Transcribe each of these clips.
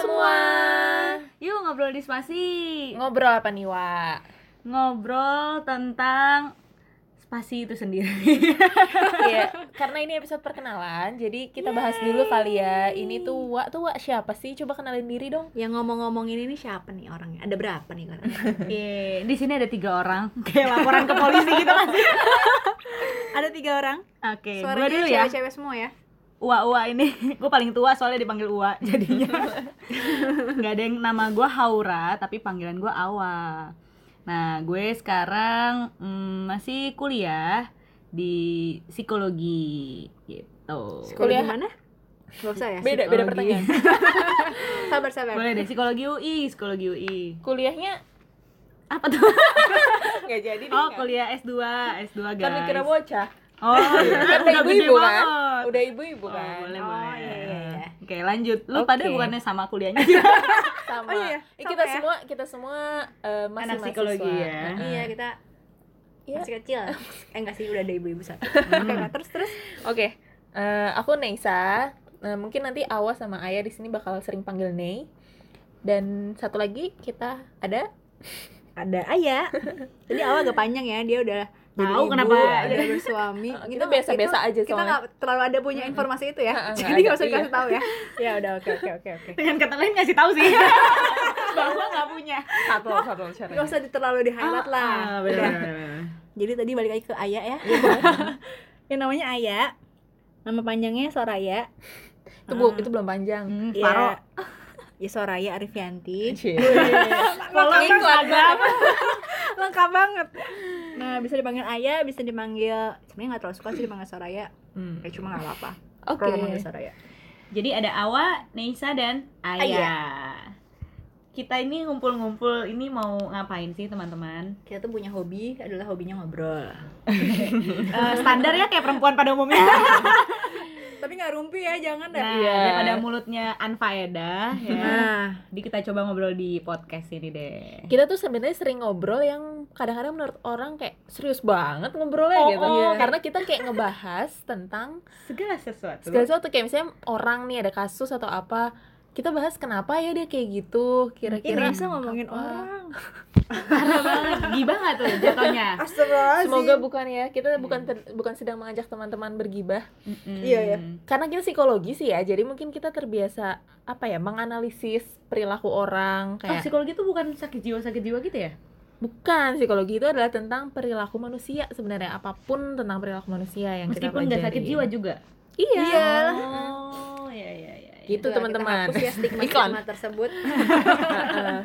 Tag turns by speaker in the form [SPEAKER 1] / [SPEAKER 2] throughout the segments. [SPEAKER 1] semua.
[SPEAKER 2] Yuk ngobrol di spasi.
[SPEAKER 1] Ngobrol apa nih, Wa?
[SPEAKER 2] Ngobrol tentang spasi itu sendiri.
[SPEAKER 1] Iya, karena ini episode perkenalan, jadi kita bahas dulu kali ya. Ini tuh Wa tuh Wa siapa sih? Coba kenalin diri dong.
[SPEAKER 3] Yang ngomong-ngomongin ini siapa nih orangnya? Ada berapa nih kan? orangnya?
[SPEAKER 2] Iya, di sini ada tiga orang. Kayak laporan ke polisi gitu kan. Oke,
[SPEAKER 3] Ada tiga orang.
[SPEAKER 2] gua
[SPEAKER 3] Suaranya
[SPEAKER 2] dulu ya.
[SPEAKER 3] cewek-cewek semua ya.
[SPEAKER 2] Ua-ua ini, gue paling tua soalnya dipanggil Ua jadinya. Nggak ada yang nama gue Haura, tapi panggilan gue Awa. Nah, gue sekarang mm, masih kuliah di psikologi gitu.
[SPEAKER 1] Kuliah-
[SPEAKER 3] Kuliah mana? Gak usah ya.
[SPEAKER 1] Beda beda
[SPEAKER 2] Psikologi.
[SPEAKER 1] pertanyaan.
[SPEAKER 3] Sabar sabar.
[SPEAKER 2] Boleh deh, psikologi UI, psikologi UI.
[SPEAKER 1] Kuliahnya
[SPEAKER 2] Apa tuh?
[SPEAKER 1] nggak jadi deh.
[SPEAKER 2] Oh, kuliah S2, S2 guys.
[SPEAKER 1] Kan mikirnya bocah.
[SPEAKER 2] Oh, iya.
[SPEAKER 1] Kan udah
[SPEAKER 2] udah gede
[SPEAKER 1] ibu-ibu kan?
[SPEAKER 2] banget.
[SPEAKER 1] Udah ibu-ibu
[SPEAKER 2] Oh,
[SPEAKER 1] kan.
[SPEAKER 2] boleh,
[SPEAKER 3] Oh,
[SPEAKER 2] boleh.
[SPEAKER 3] iya, iya, iya.
[SPEAKER 2] Oke, lanjut. Lu
[SPEAKER 1] Oke.
[SPEAKER 2] pada bukannya sama kuliahnya?
[SPEAKER 1] Sama.
[SPEAKER 3] Oh, iya, iya.
[SPEAKER 1] Eh,
[SPEAKER 3] Sama
[SPEAKER 1] kita
[SPEAKER 3] ya.
[SPEAKER 1] semua kita semua eh, masih
[SPEAKER 2] Anak
[SPEAKER 1] mahasiswa. Nah,
[SPEAKER 2] psikologi ya.
[SPEAKER 1] Heeh.
[SPEAKER 3] Iya kita
[SPEAKER 1] Iya. Hmm.
[SPEAKER 3] masih kecil. Eh enggak sih udah ada ibu-ibu satu. Oke, Kak, terus terus.
[SPEAKER 1] Oke, eh, aku Neisa. Eh, mungkin nanti Awa sama Ayah di sini bakal sering panggil Nei. Dan satu lagi kita ada
[SPEAKER 3] Ada Aya. Jadi awal agak panjang ya, dia udah jadi
[SPEAKER 2] Tahu
[SPEAKER 3] ibu,
[SPEAKER 2] kenapa?
[SPEAKER 3] Udah bersuami.
[SPEAKER 1] Kita biasa-biasa aja
[SPEAKER 3] Kita
[SPEAKER 1] soalnya.
[SPEAKER 3] nggak terlalu ada punya informasi itu
[SPEAKER 1] Heeh,
[SPEAKER 3] ya.
[SPEAKER 1] nggak
[SPEAKER 3] Jadi
[SPEAKER 1] ada,
[SPEAKER 3] nggak usah
[SPEAKER 1] iya.
[SPEAKER 3] dikasih tahu ya.
[SPEAKER 1] ya udah oke oke oke oke.
[SPEAKER 2] Dengan kata lain ngasih tahu sih. Bahwa nggak punya.
[SPEAKER 1] Satu satu
[SPEAKER 3] Nggak usah terlalu di highlight lah.
[SPEAKER 2] Ah,
[SPEAKER 3] Udah.
[SPEAKER 2] benar.
[SPEAKER 1] Iya.
[SPEAKER 3] Jadi tadi balik lagi ke Aya ya. yang namanya Aya. Nama panjangnya Soraya.
[SPEAKER 1] Itu bu, itu belum panjang.
[SPEAKER 2] Hmm,
[SPEAKER 3] Ya,
[SPEAKER 2] Paro.
[SPEAKER 3] Ya Soraya Arifianti.
[SPEAKER 2] Follow Instagram.
[SPEAKER 3] Lengkap banget. Nah, bisa dipanggil Aya, bisa dipanggil sebenarnya nggak terlalu suka sih dipanggil Soraya.
[SPEAKER 1] Hmm.
[SPEAKER 3] Ya cuma nggak apa-apa.
[SPEAKER 1] Oke.
[SPEAKER 3] Kalau manggil Soraya.
[SPEAKER 2] Jadi ada Awa, Neisa dan Aya.
[SPEAKER 3] Aya.
[SPEAKER 2] Kita ini ngumpul-ngumpul ini mau ngapain sih teman-teman?
[SPEAKER 3] Kita tuh punya hobi adalah hobinya ngobrol.
[SPEAKER 2] Eh, standar ya kayak perempuan pada umumnya.
[SPEAKER 3] Tapi nggak rumpi ya, jangan
[SPEAKER 2] Nah,
[SPEAKER 1] Iya.
[SPEAKER 2] daripada mulutnya anfaedah ya.
[SPEAKER 3] Nah,
[SPEAKER 2] Jadi kita coba ngobrol di podcast ini deh.
[SPEAKER 1] Kita tuh sebenarnya sering ngobrol yang kadang-kadang menurut orang kayak serius banget ngobrolnya
[SPEAKER 2] Oh,
[SPEAKER 1] gitu.
[SPEAKER 2] oh. Iya.
[SPEAKER 1] Karena kita kayak ngebahas tentang
[SPEAKER 2] Segala sesuatu.
[SPEAKER 1] segala sesuatu kayak misalnya orang nih ada kasus atau apa, kita bahas kenapa ya dia kayak gitu,
[SPEAKER 3] ini
[SPEAKER 1] kira-kira
[SPEAKER 3] bisa ngomongin
[SPEAKER 1] apa?
[SPEAKER 3] orang.
[SPEAKER 2] Parah banget. Gibah nggak tuh jatuhnya?
[SPEAKER 3] Astagfirullahaladzim. Iya,
[SPEAKER 1] Semoga bukan ya. Kita bukan ter- bukan sedang mengajak teman-teman bergibah.
[SPEAKER 2] Mm-mm.
[SPEAKER 3] Iya, iya.
[SPEAKER 1] Karena kita psikologi sih ya. Jadi mungkin kita terbiasa apa ya, menganalisis perilaku orang
[SPEAKER 2] Oh,
[SPEAKER 1] kayak
[SPEAKER 2] psikologi itu bukan sakit jiwa sakit jiwa gitu ya?
[SPEAKER 1] bukan psikologi itu adalah tentang perilaku manusia sebenarnya apapun tentang perilaku manusia yang kita
[SPEAKER 2] Meskipun nggak
[SPEAKER 1] pelajari.
[SPEAKER 2] sakit jiwa juga.
[SPEAKER 1] Iya.
[SPEAKER 2] Oh, iya iya iya. iya.
[SPEAKER 1] Gitu
[SPEAKER 3] Itulah,
[SPEAKER 1] teman-teman.
[SPEAKER 3] Kita hapus ya
[SPEAKER 1] Iklan.
[SPEAKER 3] stigma-stigma tersebut.
[SPEAKER 1] Heeh.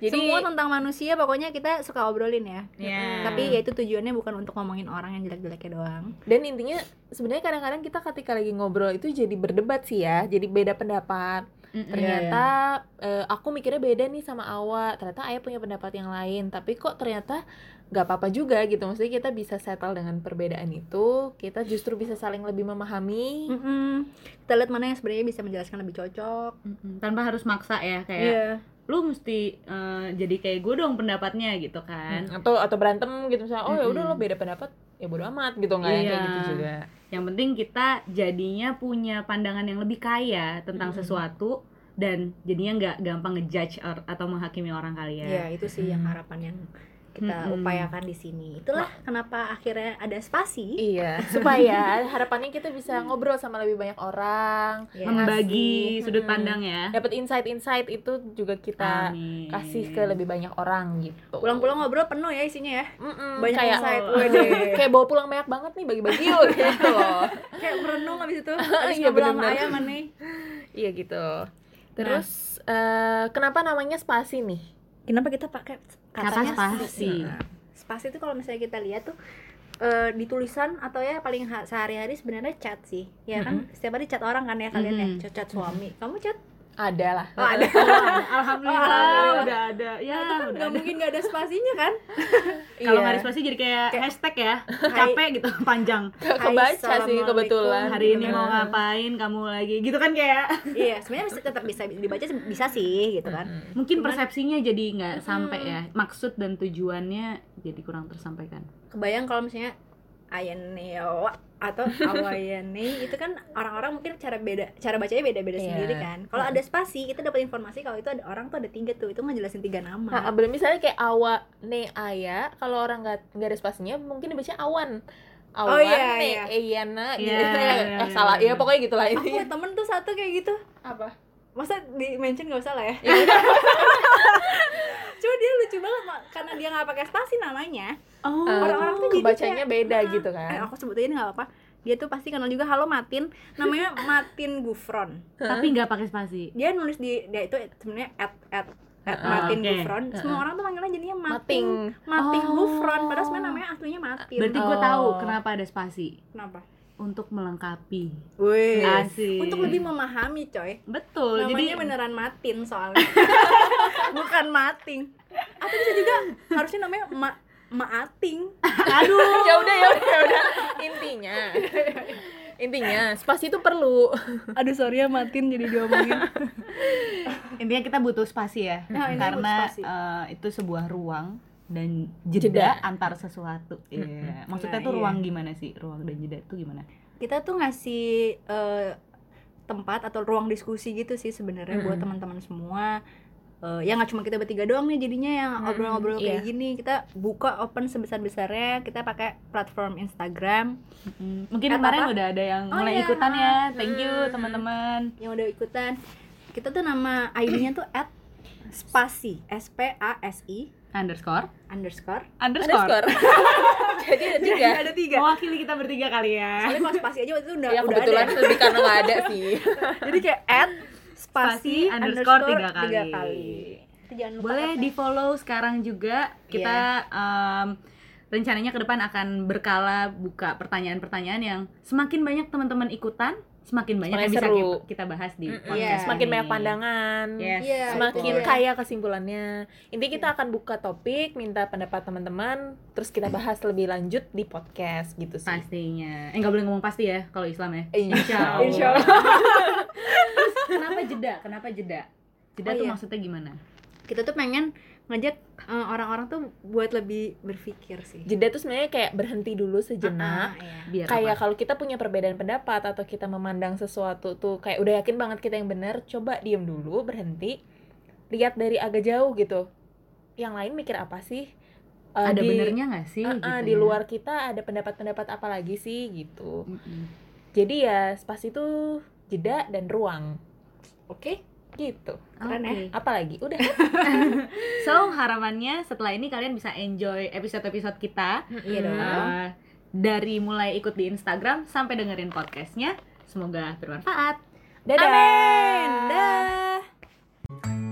[SPEAKER 1] Jadi ya,
[SPEAKER 3] Semua tentang manusia pokoknya kita suka obrolin ya.
[SPEAKER 2] Iya.
[SPEAKER 3] Tapi ya itu tujuannya bukan untuk ngomongin orang yang jelek-jeleknya doang.
[SPEAKER 1] dan intinya sebenarnya kadang-kadang kita ketika lagi ngobrol itu jadi berdebat sih ya. Jadi beda pendapat.
[SPEAKER 2] Mm-mm.
[SPEAKER 1] ternyata eh, aku mikirnya beda nih sama Awa ternyata Ayah punya pendapat yang lain tapi kok ternyata nggak apa-apa juga gitu maksudnya kita bisa settle dengan perbedaan itu kita justru bisa saling lebih memahami
[SPEAKER 3] Mm-mm. Kita lihat mana yang sebenarnya bisa menjelaskan lebih cocok.
[SPEAKER 2] Mm-mm. tanpa harus maksa ya
[SPEAKER 3] Iya.
[SPEAKER 2] kayak lu mesti eh, jadi kayak gue dong pendapatnya gitu kan.
[SPEAKER 1] atau atau berantem gitu misalnya oh ya udah lo
[SPEAKER 2] Mm-mm.
[SPEAKER 1] beda pendapat ya bodo amat gitu nggak yang kayak
[SPEAKER 2] Iya.
[SPEAKER 1] gitu juga
[SPEAKER 2] Yang penting kita jadinya punya pandangan yang lebih kaya tentang
[SPEAKER 1] Mm-mm.
[SPEAKER 2] sesuatu dan jadinya nggak gampang ngejudge or- atau menghakimi orang kali ya.
[SPEAKER 3] Iya, itu sih yang
[SPEAKER 1] Mm.
[SPEAKER 3] harapan yang kita
[SPEAKER 2] Mm-mm.
[SPEAKER 3] upayakan di sini. Itulah kenapa akhirnya ada spasi.
[SPEAKER 1] iya supaya harapannya kita bisa ngobrol sama lebih banyak orang
[SPEAKER 3] Ya.
[SPEAKER 2] Membagi
[SPEAKER 1] iya.
[SPEAKER 2] sudut
[SPEAKER 1] Mm-mm.
[SPEAKER 2] pandang ya.
[SPEAKER 1] dapat insight-insight itu juga kita
[SPEAKER 2] Amin.
[SPEAKER 1] kasih ke lebih banyak orang gitu
[SPEAKER 3] Pulang-pulang ngobrol penuh ya isinya ya.
[SPEAKER 1] Mm-mm,
[SPEAKER 3] Banyak
[SPEAKER 1] kayak
[SPEAKER 3] insight.
[SPEAKER 2] Oh.
[SPEAKER 3] Wede.
[SPEAKER 1] kayak bawa pulang banyak banget nih bagi-bagi yuk gitu loh
[SPEAKER 3] Kayak merenung abis itu. Abis
[SPEAKER 1] Iya,
[SPEAKER 3] ngobrol sama
[SPEAKER 1] bener-bener.
[SPEAKER 3] ayah mana nih.
[SPEAKER 1] Iya gitu. Terus eh, kenapa namanya spasi nih?
[SPEAKER 3] Kenapa kita pakai
[SPEAKER 2] Kata
[SPEAKER 3] katanya
[SPEAKER 2] spasi.
[SPEAKER 3] Nah, Spasi itu kalau misalnya kita lihat tuh eh, di tulisan atau ya paling ha- sehari-hari sebenarnya chat sih ya kan setiap hari chat orang kan ya kalian
[SPEAKER 2] Mhm.
[SPEAKER 3] ya chat, chat suami kamu chat
[SPEAKER 1] Ada lah.
[SPEAKER 3] oh ada
[SPEAKER 2] Alhamdulillah,
[SPEAKER 3] Oh, alhamdulillah.
[SPEAKER 2] udah ada. Ya,
[SPEAKER 3] Nah, itu kan
[SPEAKER 2] udah
[SPEAKER 3] nggak
[SPEAKER 2] ada.
[SPEAKER 3] mungkin nggak ada spasinya kan
[SPEAKER 2] Kalau
[SPEAKER 1] Iya.
[SPEAKER 2] nggak ada spasi jadi kayak,
[SPEAKER 3] Kayak-
[SPEAKER 2] hashtag ya. Capek gitu panjang.
[SPEAKER 1] Ke- kebaca
[SPEAKER 3] Hai,
[SPEAKER 1] sih kebetulan.
[SPEAKER 3] Assalamualaikum.
[SPEAKER 2] Hari ini mau ngapain kamu lagi? Gitu kan kayak
[SPEAKER 3] iya sebenarnya bisa tetap bisa dibaca sih, bisa sih gitu kan
[SPEAKER 2] mungkin
[SPEAKER 3] Cuman-
[SPEAKER 2] persepsinya jadi nggak sampai ya. Maksud dan tujuannya jadi kurang tersampaikan.
[SPEAKER 3] kebayang kalau misalnya Ayanewa atau Awayane itu kan orang-orang mungkin cara beda cara bacanya beda-beda
[SPEAKER 1] Iya.
[SPEAKER 3] sendiri kan. Kalau ada spasi kita dapat informasi kalau itu ada orang tuh ada tiga tuh itu ngejelasin tiga
[SPEAKER 1] Nah,
[SPEAKER 3] nama.
[SPEAKER 1] belum misalnya kayak awa ne aya, kalau orang nggak nggak ada spasinya mungkin dibaca awan. Awan
[SPEAKER 3] Oh, iya,
[SPEAKER 1] ne
[SPEAKER 3] iya.
[SPEAKER 1] eyana gitu.
[SPEAKER 2] Iya, iya,
[SPEAKER 1] eh
[SPEAKER 2] iya,
[SPEAKER 1] salah, ya
[SPEAKER 2] iya.
[SPEAKER 1] pokoknya gitulah
[SPEAKER 3] Aku punya
[SPEAKER 1] intinya.
[SPEAKER 3] temen tuh satu kayak gitu.
[SPEAKER 1] Apa?
[SPEAKER 3] Masa di mention gak usah lah ya.
[SPEAKER 1] Ya,
[SPEAKER 3] Cuma dia lucu banget Mak. karena dia nggak pakai spasi namanya.
[SPEAKER 2] Oh,
[SPEAKER 3] orang-orang tuh jadi
[SPEAKER 1] kebacanya
[SPEAKER 3] kayak,
[SPEAKER 1] Eh, beda
[SPEAKER 3] "Ah,
[SPEAKER 1] gitu
[SPEAKER 3] Eh,
[SPEAKER 1] kan.
[SPEAKER 3] aku sebutin nggak apa-apa. Dia tuh pasti kenal juga halo Matin. Namanya Matin Gufron.
[SPEAKER 2] tapi nggak pakai spasi.
[SPEAKER 3] Dia nulis di dia itu sebenarnya at at at
[SPEAKER 1] Heeh.
[SPEAKER 3] Matin
[SPEAKER 2] Oke.
[SPEAKER 3] Gufron. Semua orang tuh manggilnya jadinya Matin.
[SPEAKER 1] Mating.
[SPEAKER 3] Matin
[SPEAKER 2] Oh.
[SPEAKER 3] Gufron. Padahal sebenarnya namanya aslinya Matin.
[SPEAKER 2] Berarti gue
[SPEAKER 1] Oh.
[SPEAKER 2] tahu kenapa ada spasi
[SPEAKER 3] Kenapa?
[SPEAKER 2] untuk melengkapi.
[SPEAKER 3] Wih.
[SPEAKER 2] Asik.
[SPEAKER 3] Untuk lebih memahami coy.
[SPEAKER 2] betul.
[SPEAKER 3] Namanya
[SPEAKER 2] Jadi
[SPEAKER 3] beneran Matin soalnya. Bukan Mating. Atau bisa juga harusnya namanya Ma Maating.
[SPEAKER 2] aduh.
[SPEAKER 1] ya udah ya udah ya udah intinya intinya spasi itu perlu
[SPEAKER 3] Aduh sorry ya Matin jadi diomongin.
[SPEAKER 2] Intinya kita butuh spasi ya.
[SPEAKER 3] Nah, ini butuh
[SPEAKER 2] karena
[SPEAKER 3] spasi.
[SPEAKER 2] eh, itu sebuah ruang dan jeda, antar sesuatu. Iya. Maksudnya
[SPEAKER 3] Nah,
[SPEAKER 2] tuh
[SPEAKER 3] iya.
[SPEAKER 2] ruang gimana sih? Ruang dan jeda tuh gimana?
[SPEAKER 3] kita tuh ngasih eh, tempat atau ruang diskusi gitu sih sebenarnya buat
[SPEAKER 1] Mm-mm.
[SPEAKER 3] teman-teman semua Eh, ya nggak cuma kita bertiga doang nih jadinya yang
[SPEAKER 1] Mm-mm,
[SPEAKER 3] ngobrol-ngobrol kayak
[SPEAKER 1] iya.
[SPEAKER 3] gini kita buka open sebesar-besarnya kita pakai platform Instagram
[SPEAKER 2] Mungkin
[SPEAKER 3] Kata
[SPEAKER 2] kemarin
[SPEAKER 3] apa?
[SPEAKER 2] udah ada yang
[SPEAKER 3] Eh, Oh,
[SPEAKER 2] mulai
[SPEAKER 3] iya.
[SPEAKER 2] ikutan ya. Thank you
[SPEAKER 1] Hmm.
[SPEAKER 2] teman-teman.
[SPEAKER 3] yang udah ikutan kita tuh nama ID-nya tuh at spasi s p a s i
[SPEAKER 2] Underscore.
[SPEAKER 3] underscore
[SPEAKER 2] Underscore.
[SPEAKER 1] jadi ada tiga Oh.
[SPEAKER 3] Jadi ada tiga
[SPEAKER 2] Mewakili kita bertiga kali ya.
[SPEAKER 3] soalnya kalau spasi aja waktu itu udah
[SPEAKER 1] ya
[SPEAKER 3] udah ada
[SPEAKER 1] kebetulan
[SPEAKER 3] ya.
[SPEAKER 1] lebih karena nggak ada sih
[SPEAKER 3] jadi kayak at
[SPEAKER 2] Spasi
[SPEAKER 3] spasi
[SPEAKER 2] underscore
[SPEAKER 3] underscore
[SPEAKER 2] tiga
[SPEAKER 3] tiga kali,
[SPEAKER 2] kali.
[SPEAKER 3] Itu jangan lupa
[SPEAKER 2] Boleh
[SPEAKER 3] katanya.
[SPEAKER 2] di follow sekarang juga. Kita
[SPEAKER 1] Iya.
[SPEAKER 2] em, rencananya ke depan akan berkala buka pertanyaan-pertanyaan yang semakin banyak teman-teman ikutan, semakin banyak
[SPEAKER 1] Semakin
[SPEAKER 2] yang bisa
[SPEAKER 1] seru.
[SPEAKER 2] ki- kita bahas di
[SPEAKER 1] Mm-mm.
[SPEAKER 2] podcast.
[SPEAKER 3] Iya.
[SPEAKER 1] semakin
[SPEAKER 2] ini.
[SPEAKER 1] banyak pandangan
[SPEAKER 2] Yes,
[SPEAKER 3] Iya,
[SPEAKER 1] semakin
[SPEAKER 3] betul.
[SPEAKER 1] kaya kesimpulannya intinya kita akan buka topik minta pendapat teman-teman terus kita bahas lebih lanjut di podcast gitu sih
[SPEAKER 2] pastinya. Eh nggak boleh ngomong pasti ya kalau Islam ya.
[SPEAKER 1] Insya
[SPEAKER 2] Allah.
[SPEAKER 3] Insya Allah.
[SPEAKER 2] Terus kenapa jeda? Kenapa jeda? Jeda
[SPEAKER 3] Oh,
[SPEAKER 2] tuh
[SPEAKER 3] iya.
[SPEAKER 2] maksudnya gimana?
[SPEAKER 3] kita tuh pengen ngajak eh, orang-orang tuh buat lebih berpikir sih
[SPEAKER 1] jeda tuh sebenarnya kayak berhenti dulu sejenak
[SPEAKER 3] Ah, iya.
[SPEAKER 2] Biar
[SPEAKER 1] kayak
[SPEAKER 2] apa?
[SPEAKER 1] kalau kita punya perbedaan pendapat atau kita memandang sesuatu tuh kayak udah yakin banget kita yang benar coba diem dulu berhenti lihat dari agak jauh gitu yang lain mikir apa sih Eh,
[SPEAKER 2] ada
[SPEAKER 1] di-
[SPEAKER 2] benernya nggak sih?
[SPEAKER 1] eh, eh,
[SPEAKER 2] gitu
[SPEAKER 1] di
[SPEAKER 2] ya?
[SPEAKER 1] luar kita ada pendapat-pendapat apa lagi sih gitu
[SPEAKER 2] Mm-mm.
[SPEAKER 1] jadi ya spasi itu jeda dan ruang
[SPEAKER 3] oke
[SPEAKER 1] gitu
[SPEAKER 3] Keren ya.
[SPEAKER 2] Oke.
[SPEAKER 1] apalagi udah kan?
[SPEAKER 2] So harapannya setelah ini kalian bisa enjoy episode-episode kita
[SPEAKER 3] Iya dong.
[SPEAKER 2] Eh, dari mulai ikut di Instagram sampai dengerin podcastnya. Semoga bermanfaat.
[SPEAKER 1] dadah
[SPEAKER 3] amin dah